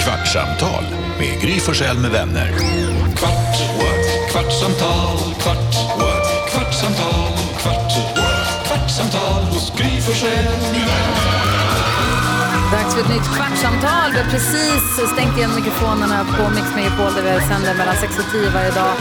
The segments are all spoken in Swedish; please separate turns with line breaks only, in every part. Kvartsamtal med Gry Forssell med vänner. Kvart, what? kvartsamtal, kvart, what? kvartsamtal, kvart, what? kvartsamtal hos Gry Forssell med vänner.
Dags för ett nytt kvartsamtal. Vi har precis stängt igen mikrofonerna på Mix Megapol där vi sänder mellan 6 och 10 varje dag.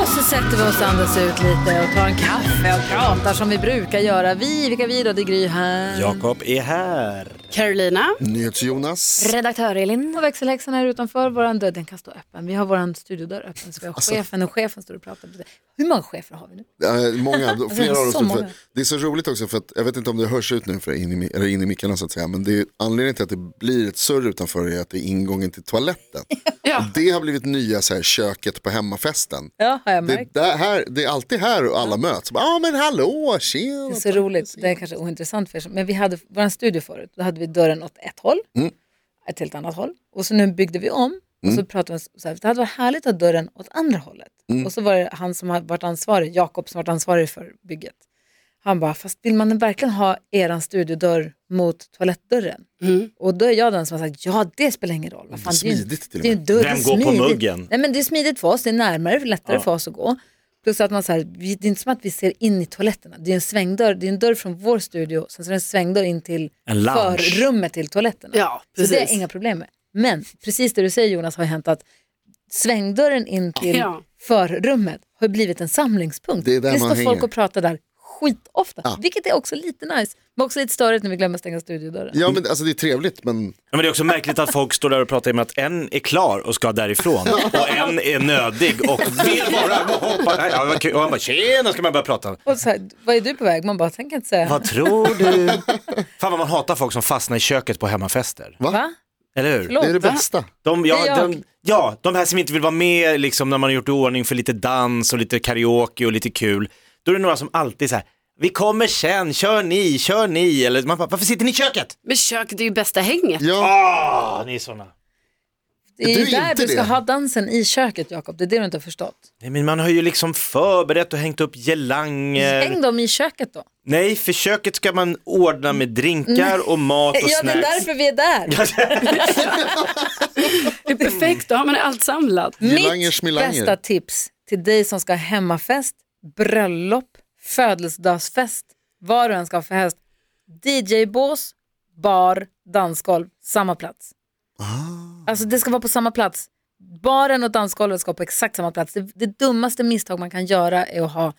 Och så sätter vi oss och andas ut lite och tar en kaffe och pratar som vi brukar göra. Vi, vilka vi då? Det är Gry här.
Mm.
Jakob är här.
Carolina.
NyhetsJonas.
Redaktör Elin.
Och växelhäxan är utanför. Våran dörr, den kan stå öppen. Vi har våran studiodörr öppen. Så vi har chefen och chefen står och pratar. Hur många chefer har vi nu?
Eh, många, flera
så
av dem.
många.
För, det är så roligt också för att jag vet inte om det hörs ut nu för in i, mi- eller in i mickarna så att säga. Men det är, anledningen till att det blir ett surr utanför är att det är ingången till toaletten.
Ja.
Och det har blivit nya så här, köket på hemmafesten.
Ja, har jag
Det,
märkt.
där, här, det är alltid här och alla möts. Ja ah, men hallå, tjena.
Det är så roligt. Det är kanske ointressant för er. som- Men vi hade vår studio förut. Då hade vi dörren åt ett håll,
Mm.
ett helt annat håll. Och så nu byggde vi om. Och så pratade vi så här, det hade varit härligt att ha dörren åt andra hållet.
Mm.
Och så var det han som har varit ansvarig, Jakob som varit ansvarig för bygget. Han bara, fast vill man verkligen ha eran studiodörr mot toalettdörren? Och då är jag den som har sagt, ja det spelar ingen roll. Vad fan, det är ju-
Smidigt till och
det är ju en dörr,
Vem
det är
går på
smidigt.
muggen?
Nej, men det är smidigt för oss, det är närmare, lättare
Ja.
för oss att gå. Plus att man så här, vi, det är inte som att vi ser in i toaletterna. Det är en svängdörr, det är en dörr från vår studio, sen så är det en svängdörr in till
En lounge.
förrummet till toaletterna.
Ja,
så det är
precis.
inga problem med. Men precis det du säger Jonas har hänt att svängdörren in till
Ja.
förrummet har blivit en samlingspunkt.
Det är där man
står folk
hänger.
och pratar där skitofta, vilket är också lite nice. Men också lite störigt när vi glömmer stänga studiodörren.
Ja men alltså det är trevligt men
Ja, men det är också märkligt att folk står där och pratar om att en är klar och ska därifrån och en är nödig och vill bara hoppa. Nej, ja, vad kul. Och han bara tjena ska man börja prata.
Och så här, vad är du på väg? Man bara, tänk inte säga.
Vad tror du? Fan vad man hatar folk som fastnar i köket på hemmafester.
Va?
Eller hur?
Förlåt.
det är det
Va?
bästa.
De,
Det
ja,
är jag.
de, ja, de här som inte vill vara med liksom, när man har gjort i ordning för lite dans och lite karaoke och lite kul. Då är det några som alltid så här, vi kommer sen, kör ni, kör ni. Eller man bara, varför sitter ni i köket?
Men köket är ju bästa hänget.
Ja,
Ah,
Ja, ni är sådana.
Det är
Du
ju
är
där
inte
du ska
det.
ha dansen i köket, Jakob. Det är det du inte har förstått.
Nej men man har ju liksom förberett och hängt upp
Eh,
gelanger.
Häng dem i köket då.
Nej, för köket ska man ordna med drinkar och mat och
Ja, det är
snacks.
därför vi är där.
Det är perfekt, då har man allt samlat.
Gelanger,
Mitt
schmilanger.
bästa tips till dig som ska ha hemmafest, bröllop, födelsedagsfest, vad du än ska ha för fest. DJ-bås, bar, dansgolv, samma plats.
Ah.
Alltså det ska vara på samma plats. Baren och dansgolvet ska vara på exakt samma plats. Det, det dummaste misstag man kan göra är att ha,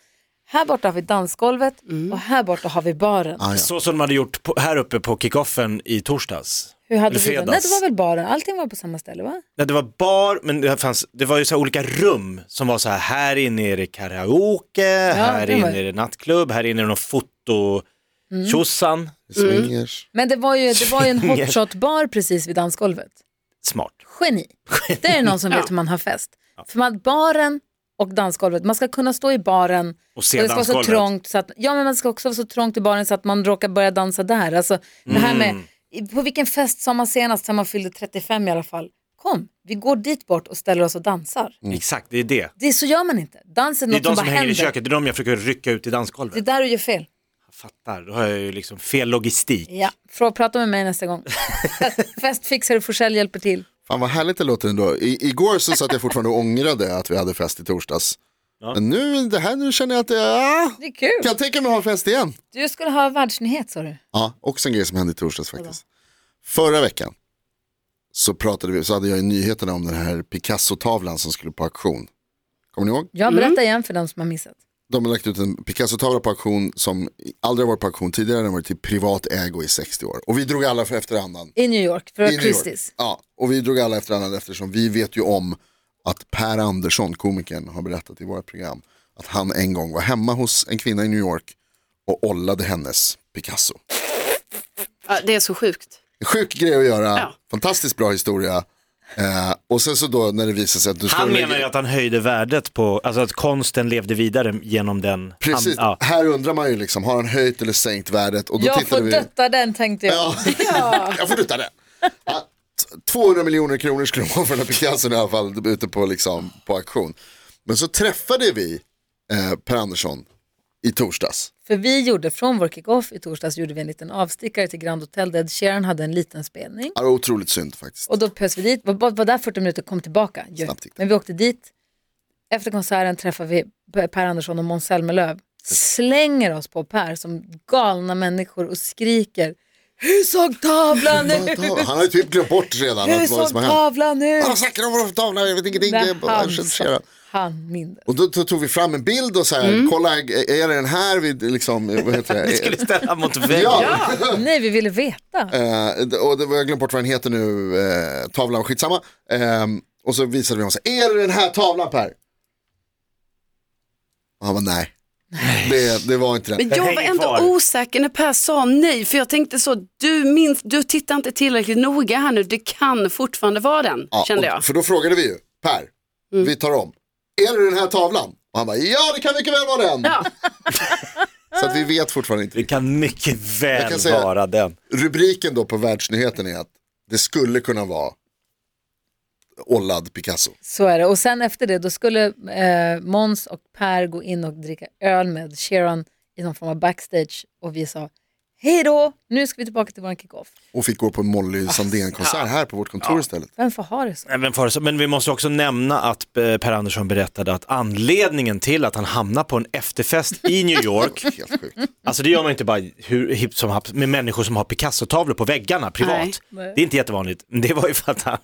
här borta har vi dansgolvet
Mm.
och här borta har vi baren.
Ah, ja.
Så som de hade gjort på, här uppe på kickoffen i torsdags.
Hur hade
Eller
vi det? Nej,
fredags.
det var väl baren. Allting var på samma ställe, va?
Nej, det var bar, men det, fanns, det var ju så här olika rum som var så här, här inne är det karaoke, här
det var-
inne är det nattklubb, här inne är det någon foto... Tjosan,
mm.
Swingers.
Men det var ju, det var ju en
Swinger.
hotshot-bar precis vid dansgolvet.
smart.
Geni. Det är någon som vet hur man har fest. För man, baren och dansgolvet, man ska kunna stå i baren
Och se
det ska vara så
dansgolvet.
trångt så att, ja men man ska också vara så trångt i baren så att man råkar börja dansa där. Alltså, det här med,
Mm.
på vilken fest sa man senast när man fyllde 35 i alla fall? Kom, vi går dit bort och ställer oss och dansar.
Exakt, det är det.
Det, så gör man inte. Dans är
Det är
något
de
bara
som hänger
händer.
i köket, det är de jag försöker rycka ut
Det
i
är
dansgolvet.
där du gör fel.
Jag fattar, då har jag ju liksom fel logistik.
Ja, Frå, prata med mig nästa gång. Festfixare Forsell hjälper till.
Fan vad härligt det låter ändå. I, igår så satt jag fortfarande och ångrade att vi hade fest i torsdags. Men nu, det här, nu känner jag att det, ah,
Det är kul.
kan jag tänka mig att ha fest igen.
Du skulle ha världsnyhet sa du.
Ja, också en grej som hände i torsdags faktiskt. Förra veckan så pratade vi, så hade jag i nyheterna om den här Picasso-tavlan som skulle på auktion. Kommer ni ihåg?
Jag berättar igen för de som har missat.
De har lagt ut en Picasso-tavla på auktion som aldrig har varit på auktion tidigare, den har varit i privat ägo i 60 år. Och vi drog alla för efter andan.
I New York, för
I New York.
Christies.
Ja, och vi drog alla efter andan eftersom vi vet ju om att Per Andersson, komikern, har berättat i vårt program att han en gång var hemma hos en kvinna i New York och ollade hennes Picasso.
Ja, det är så sjukt.
Sjuk grej att göra,
Ja.
fantastiskt bra historia. Eh, och sen så då när det visar sig att du
Han menar ju att han höjde värdet på, alltså att konsten levde vidare genom den.
Precis,
Han, ja.
här undrar man ju liksom, har han höjt eller sänkt värdet? Och då
Jag
tittade
får
vi...
dötta den tänkte jag.
Ja. jag får dutta det. Ja, t- 200 miljoner kronor skulle de ha för den här Picasso i alla fall ute på, liksom, på auktion. Men så träffade vi eh, Per Andersson i torsdags.
För vi gjorde, från vår kick-off i torsdags, gjorde vi en liten avstickare till Grand Hotel där Ed Sheeran hade en liten spelning.
Ja, Det var otroligt synd faktiskt.
Och då pös vi dit, var, var där 40 minuter och kom tillbaka. ju.
Snabbt gick det.
Men vi åkte dit, efter konserten träffade vi P- Per Andersson och Måns Zelmerlöw. Slänger oss på Per som galna människor och skriker Hur såg tavlan ut?
Han har ju typ glömt bort redan
Hur
att vad
såg
som har hänt.
tavlan ut?
Alla snackar om vår tavla, jag vet ingenting. jag
När
bara-
han,
jag känner
sa-
Sheeran.
han mindes.
Och då, då tog vi fram en bild och så här,
Mm.
kolla, är det den här vi liksom, vad heter det?
Vi skulle ställa mot väggen.
Ja.
Nej, vi ville veta.
Eh, och det, var- jag har glömt bort vad den heter nu, eh, tavlan, skitsamma. Eh, och så visade vi honom, så här, är det den här tavlan Per? Och han bara, nej. Det, det var inte den.
Men jag var
hänger
ändå
kvar.
osäker när Per sa nej, för jag tänkte så, du minns, du tittar inte tillräckligt noga här nu, det kan fortfarande vara den,
Ja,
kände
och-
jag. Mm.
För då frågade vi ju, Per, vi tar om, är det den här tavlan? Och han bara, ja det kan mycket väl vara den.
Ja.
Så att vi vet fortfarande inte.
Det kan mycket väl
kan säga-
vara den.
Rubriken då på världsnyheten är att det skulle kunna vara ollad Picasso.
Så är det. Och sen efter det, då skulle eh, Mons och Per gå in och dricka öl med Sharon i någon form av backstage och vi sa hej då, nu ska vi tillbaka till vår kick-off.
Och fick gå på Molly Sandén-konsert här på vårt kontor istället.
Vem får ha det så?
Även för, så- men vi måste också nämna att eh, Per Andersson berättade att anledningen till att han hamnade på en efterfest i New York,
Helt sjukt.
alltså det gör man inte bara hur hipp som happ med människor som har Picasso-tavlor på väggarna privat.
Nej.
Det är inte jättevanligt, men det var ju för att han,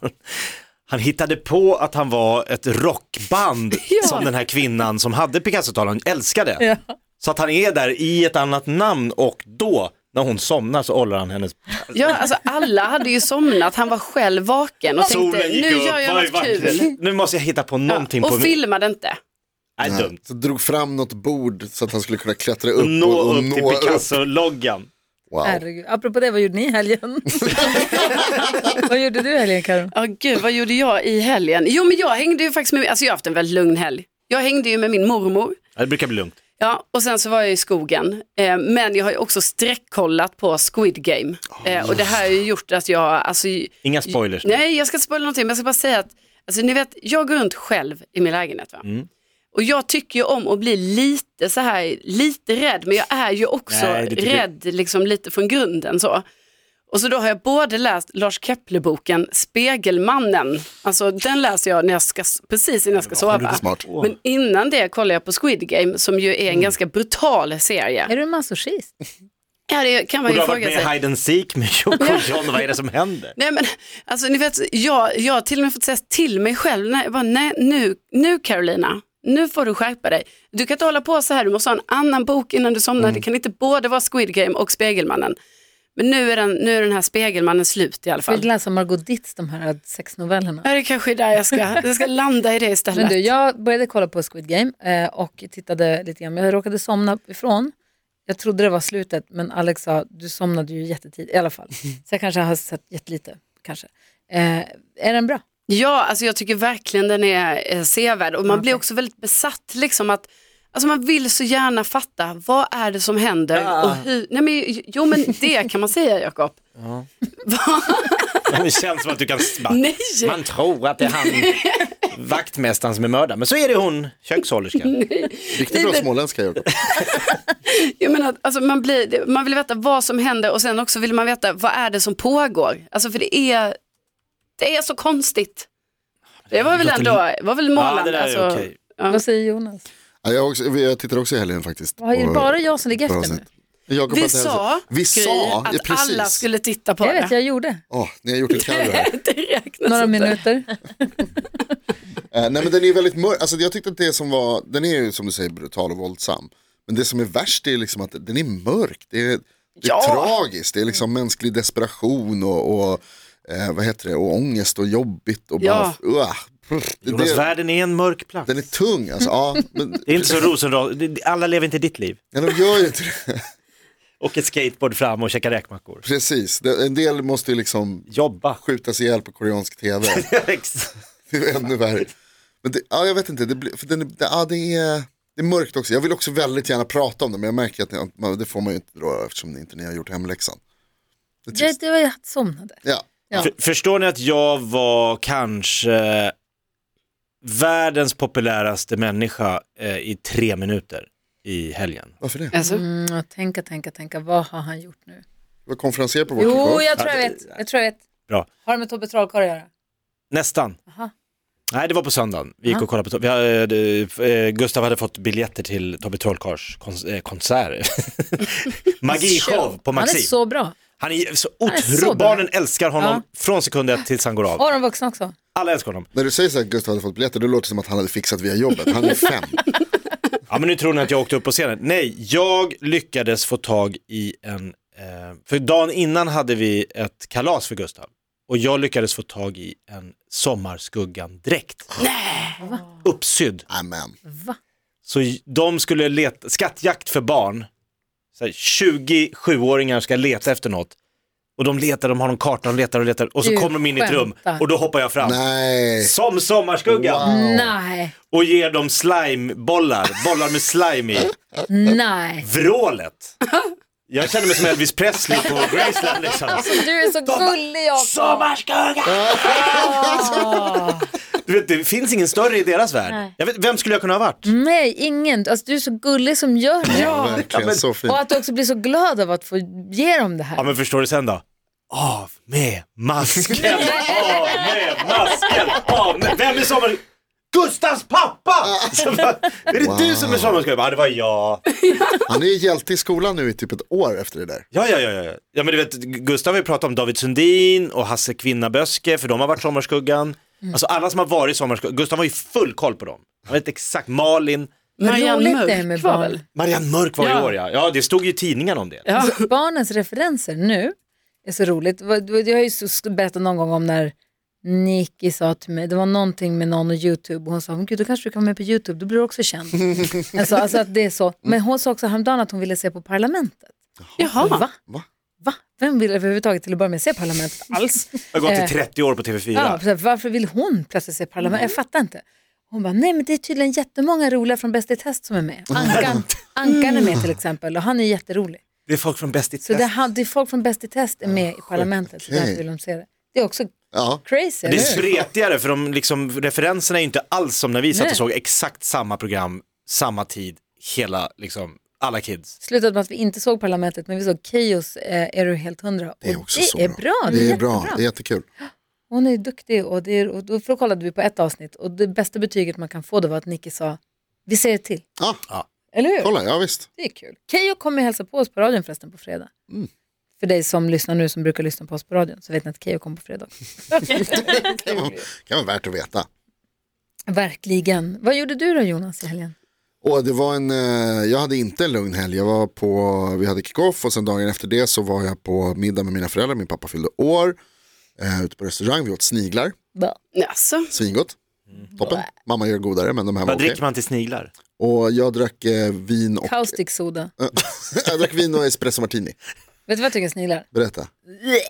han hittade på att han var ett rockband som den här kvinnan som hade Picasso-tavlan älskade. Så att han är där i ett annat namn och då, när hon somnar så ollar han hennes
Ja, alltså alla hade ju somnat, han var själv vaken och tänkte nu gör jag något kul.
Nu måste jag hitta på någonting.
Ja,
på
och filmade inte.
Nej,
Nej,
dumt.
Så drog fram något bord så att han skulle kunna klättra upp
Nå
och, och
upp till
nå upp.
Picasso-loggan.
Wow.
Herregud. Apropå det, vad gjorde ni i helgen? vad gjorde du i helgen Karin?
Ja, gud, vad gjorde jag i helgen? Jo, men jag hängde ju faktiskt med, alltså jag har haft en väldigt lugn helg. Jag hängde ju med min mormor.
Ja, det brukar bli lugnt.
Ja, och sen så var jag i skogen. Eh, men jag har ju också streckkollat på Squid Game. Eh, och det här har ju gjort att jag, alltså,
Inga spoilers.
nej jag ska inte spoila någonting, men jag ska bara säga att, alltså ni vet, jag går runt själv i min lägenhet va. Och jag tycker ju om att bli lite så här, lite rädd, men jag är ju också
Nej, det tycker-
rädd liksom lite från grunden så. Och så då har jag både läst Lars Kepler-boken Spegelmannen, alltså den läser jag när jag ska, precis innan jag ska sova.
Smart.
Men innan det kollade jag på Squid Game som ju är en ganska brutal serie.
Är du masochist?
Ja, det kan man
Och du
ju
har varit
fråga
med i
sig.
Hide and Seek med Jocke och John, vad är det som händer?
Nej men alltså ni vet, jag, jag har till och med fått säga till mig själv, nej, jag bara, nej nu, nu Carolina, nu får du skärpa dig. Du kan inte hålla på så här, du måste ha en annan bok innan du somnar,
Mm.
det kan inte både vara Squid Game och Spegelmannen. Men nu är den, nu är den här Spegelmannen slut i alla
Vill du
fall.
läsa Margot Ditts, de här sexnovellerna?
Ja, det kanske är där jag ska, jag ska landa i det istället.
Men du, jag började kolla på Squid Game eh, och tittade lite grann. Men Jag råkade somna ifrån. Jag trodde det var slutet, men Alex sa, du somnade ju jättetidigt i alla fall. Så jag kanske har sett jättelite, kanske. Eh, är den bra?
Ja, alltså jag tycker verkligen den är eh, sevärd och man blir också väldigt besatt liksom att Alltså man vill så gärna fatta, vad är det som händer och hur, nej men jo men det kan man säga Jakob.
Det känns som att du kan... Bara,
Nej!
Man tror att det är han, vaktmästaren som är mördaren, men så är det hon, kökshållerskan.
Riktigt bra småländska Jakob.
Jag menar, alltså man, blir, man vill veta vad som händer och sen också vill man veta, vad är det som pågår? Alltså för det är, det är så konstigt. Det var väl
Det låter
ändå, var väl målande.
Ja, det där är
alltså.
okej.
Ja.
Vad säger Jonas?
Ja, jag, har också, jag tittar också i helgen faktiskt.
Vad är det
på-
bara jag som ligger
på
efter nu?
avsnitt. Jakob
Vi
har inte hälsat.
sa,
vi
Gry,
sa ja,
att
precis.
alla skulle titta på
Jag
det.
vet, jag gjorde.
Åh, ni har gjort en karv här.
det räknas
Några
inte.
minuter.
Eh, nej men den är väldigt mörk, alltså jag tyckte att det som var, den är ju som du säger brutal och våldsam. Men det som är värst är liksom att den är mörk, det är, det är
Ja. Mm.
tragiskt, det är liksom mänsklig desperation och, och eh, vad heter det, och ångest och jobbigt och
Ja.
bara, uah, pff, det,
Jonas,
det,
världen är en mörk plats.
den är tung alltså. Ja, men,
Det är inte så rosenras, det- alla lever inte ditt liv.
ja, de gör ju inte det.
Och ett skateboard fram och käka räkmackor.
Precis, Det- en del måste ju liksom
Jobba.
skjutas ihjäl på koreansk tv. Det är ännu värre. Men det, ja, jag vet inte, det, blir, för den, är- det, ja, det, är, det är mörkt också. Jag vill också väldigt gärna prata om det, men jag märker att ni- att man, det får man ju inte då eftersom ni inte ni har gjort hemläxan. Det är
Det,
trist.
det var jag somnade.
Ja,
Ja.
För, förstår ni att jag var kanske världens populäraste människa eh, i tre minuter? i helgen.
Varför det?
Alltså,
Mm, och tänka, tänka, tänka, vad har han gjort nu?
Du var konferenser på vårt
Jo,
lokal.
jag tror jag vet. Jag tror jag vet.
Bra.
Har det med Tobbe Trollkarl att göra?
Nästan.
Aha.
Nej, det var på söndagen. Vi gick och kollade på, vi hade, eh, Gustav hade fått biljetter till Tobbe Trollkarls kons- eh, konsert. Magishow på
Han är
Maxim.
så bra.
Han är så
är så
otrolig,
bra.
barnen älskar honom
Ja.
från sekund ett tills han går av.
Och de vuxna också.
Alla älskar honom.
När du säger så här att Gustav hade fått biljetter, då låter det som att han hade fixat via jobbet. Han är fem.
Ja men nu tror ni att jag åkte upp på scenen. Nej, jag lyckades få tag i en, eh, för dagen innan hade vi ett kalas för Gustav. Och jag lyckades få tag i en Sommarskuggan-dräkt. Uppsydd.
Amen.
Va?
Så j- de skulle leta, skattjakt för barn, så här, 27-åringar ska leta efter något. Och de letar, de har en karta, de letar och letar. Och så
Du
kommer de in i ett rum
skämtar.
och då hoppar jag fram.
Nej.
Som Sommarskuggan!
Nej,
Och ger dem slimebollar, bollar med slime i.
nej.
vrålet. Jag känner mig som Elvis Presley på Graceland liksom.
Alltså, Du är så gullig Jakob.
Sommarskugga! Ah. Du vet, det finns ingen större i deras värld.
Nej.
Jag vet, vem skulle jag kunna ha varit?
Nej, ingen. Alltså, du är så gullig som gör det.
Verkligen så fint.
Och att du också blir så glad av att få ge dem det här.
Ja men förstår du sen då? Av med masken! Av med masken! Av med... Vem är sommar... Gustavs pappa! Så bara, Är det du som är sommarskugga? Ja det var jag.
Han är ju hjälte i skolan nu i typ ett år efter det där.
Ja, ja, ja, ja. ja men du vet, Gustav har ju pratat om David Sundin och Hasse Kvinnaböske, för de har varit Sommarskuggan.
Mm.
Alltså alla som har varit Sommarskuggan, Gustav har ju full koll på dem. Han vet exakt, Malin,
Vad
Marianne
roligt det är
Mörk
med
var
barn.
väl?
Marianne Mörk var i
Ja.
år ja. Ja, det stod ju i tidningen om det.
ja.
Barnens referenser nu är så roligt. Det var- det var- Jag har ju så- berättat någon gång om när Nicky sa till mig, det var någonting med någon och YouTube och hon sa, men gud då kanske du kan vara med på YouTube, då blir du också känd. alltså, alltså att det är så. Men hon sa också häromdagen att hon ville se på Parlamentet.
Jaha.
Va?
Va?
Va? Vem vill överhuvudtaget till att börja med se Parlamentet alls?
Jag har gått
Eh.
i 30 år på TV4.
Ja, så här, varför vill hon plötsligt se Parlament? Jag fattar inte. Hon bara, nej men det är tydligen jättemånga roliga från Bäst i test som är med. Ankan, Ankan är med till exempel och han är jätterolig.
Det är folk från Bäst i
Så
test.
det, han- det är folk från Bäst i test är med i Parlamentet. så Därför vill de se det. Det är också
Ja.
crazy,
Det är
eller hur?
spretigare för de liksom, referenserna är ju inte alls som när vi satt
Nej.
och såg exakt samma program, samma tid, hela, liksom, alla kids.
Slutade med att vi inte såg Parlamentet, men vi såg Keyyo's eh, Är du helt hundra? Och
Det är också
det
så
är
bra.
bra.
Det är
jättebra.
bra, det är jättekul.
Hon är ju duktig och, det är, och då då kollade vi på ett avsnitt och det bästa betyget man kan få då var att Nicky sa, vi ser det till.
Ja,
Eller hur?
kolla, ja visst.
Det är kul. Keyyo kommer hälsa på oss på radion förresten på fredag.
Mm.
För dig som lyssnar nu som brukar lyssna på oss på radion så vet ni att Keyyo kommer på fredag.
Kan vara, kan vara värt att veta.
Verkligen. Vad gjorde du då Jonas i helgen?
Och det var en, eh, jag hade inte en lugn helg. Jag var på, vi hade kickoff och sen dagen efter det så var jag på middag med mina föräldrar. Min pappa fyllde år. Eh, ute på restaurang, vi åt sniglar.
Bra.
Alltså,
Svingott. Toppen. Mamma gör godare men de här var
Vad
okej.
dricker man till sniglar?
Och jag drack eh, vin och,
Caustic soda.
jag drack vin och espresso martini.
Vet du vad jag tycker sniglar?
Berätta.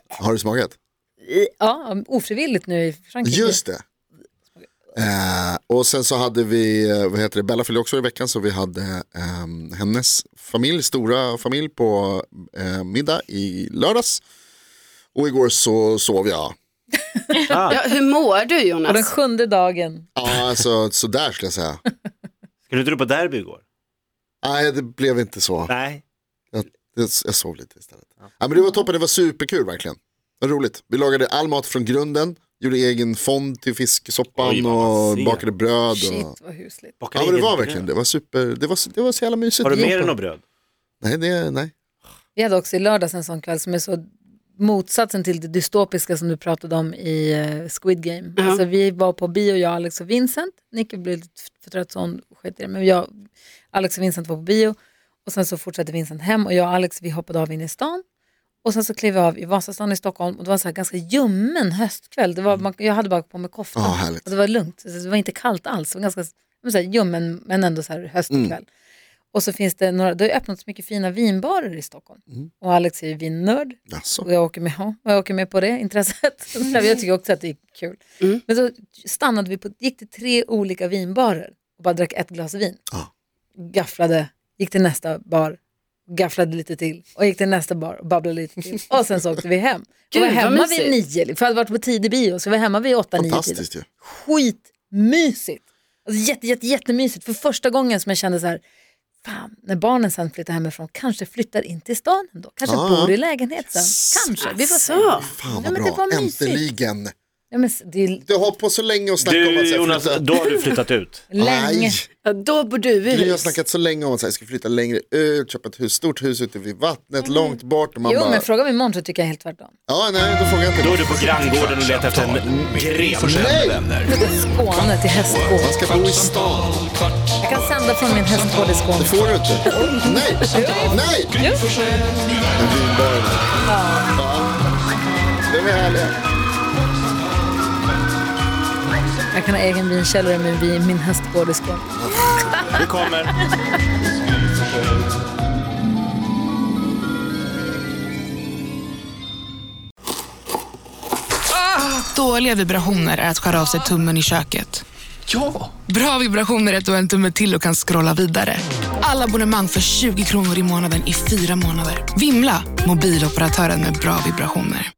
Har du smakat?
Ja, ofrivilligt nu i Frankrike.
Just det. Eh, och sen så hade vi, eh, vad heter det, Bella fyllde också i veckan så vi hade ehm, hennes familj, stora familj på eh, middag i lördags. Och igår så sov jag.
Ah.
ja, hur mår du
Och den
Jonas?
sjunde dagen.
Ja, alltså sådär skulle jag säga.
Skulle inte du på derby igår?
Nej, det blev inte så.
Nej.
Jag, jag, jag sov lite istället. Ja. men det var toppen, det var superkul verkligen. Det var roligt. Vi lagade all mat från grunden, gjorde egen fond till fisksoppan
Oj, vad man
och
ser.
bakade bröd.
Shit
Och...
vad husligt.
Bakar
Ja men det
egen
var
bröd.
verkligen det, var super, det var, det var så jävla mysigt.
Har du mer än
Jobba.
något bröd?
Nej, det, nej.
Vi hade också i lördags en sån kväll som är så motsatsen till det dystopiska som du pratade om i eh, Squid Game. Alltså, vi var på bio, jag, Alex och Vincent. Nicky blev lite för trött så hon sket i det. Men jag, Alex och Vincent var på bio och sen så fortsatte Vincent hem och jag och Alex vi hoppade av in i stan. Och sen så klev jag av i Vasastan i Stockholm och det var en så här ganska ljummen höstkväll. Det var, man, jag hade bara på mig koftan
Mm. Ja, härligt.
och det var lugnt. Så Det var inte kallt alls. Det var ganska men så här, ljummen men ändå så här höstkväll.
Mm.
Och så finns det några, det har ju öppnats mycket fina vinbarer i Stockholm.
Mm.
Och Alex är ju vinnörd
Alltså.
och jag åker med, ja, och jag åker med på det intresset. Så jag tycker också att det är kul.
Mm.
Men så stannade vi på, gick till tre olika vinbarer och bara drack ett glas vin.
Ja.
Gafflade, gick till nästa bar, gafflade lite till och gick till nästa bar och babblade lite till. Och sen så åkte vi hem.
Gud,
och var
vad
hemma vid
mysigt.
nio, för jag hade varit på tidig bio, så vi var hemma vid åtta, nio tiden.
Fantastiskt ju.
Skitmysigt. Alltså, jätte, jätte, jättemysigt. För första gången som jag kände så här, fan, när barnen sen flyttar hemifrån kanske flyttar in till stan ändå. Kanske
Ah.
bor i lägenhet sen. Kanske, vi får se.
Fan
Ja,
vad
men det
bra,
var mysigt.
äntligen.
Ja, men det är
Du har hållit på så länge och snackat om att
Du
säga
Jonas,
flytta.
då har du flyttat ut.
länge.
Nej,
Ja, Då bor du i
vi har
hus.
snackat så länge om att jag ska flytta längre ut, köpa ett hus, stort hus ute vid vattnet, långt bort. Och man
Mm. Jo,
bara,
men fråga mig imorgon så tycker jag helt tvärtom.
ja, nej, då frågar jag inte.
Då är du på granngården och letar efter en
Gry
gren.
Forssell med vänner.
Flytta till Skåne till hästgård.
Man ska bo i stan.
Kvartsamtal, kvart,
Jag kan sända från min hästgård i Skåne.
Det får du inte. Nej, nej.
Gry Forssell med vänner.
Vinbaren. Ja. De är härliga.
Jag kan ha egen vinkällare med vin, min hästgård i Skåne.
Du kommer.
Dåliga vibrationer är att skära av sig tummen i köket.
Ja!
Bra vibrationer är att du har en tumme till och kan scrolla vidare. Alla abonnemang för 20 kronor i månaden i fyra månader. Vimla! Mobiloperatören med bra vibrationer.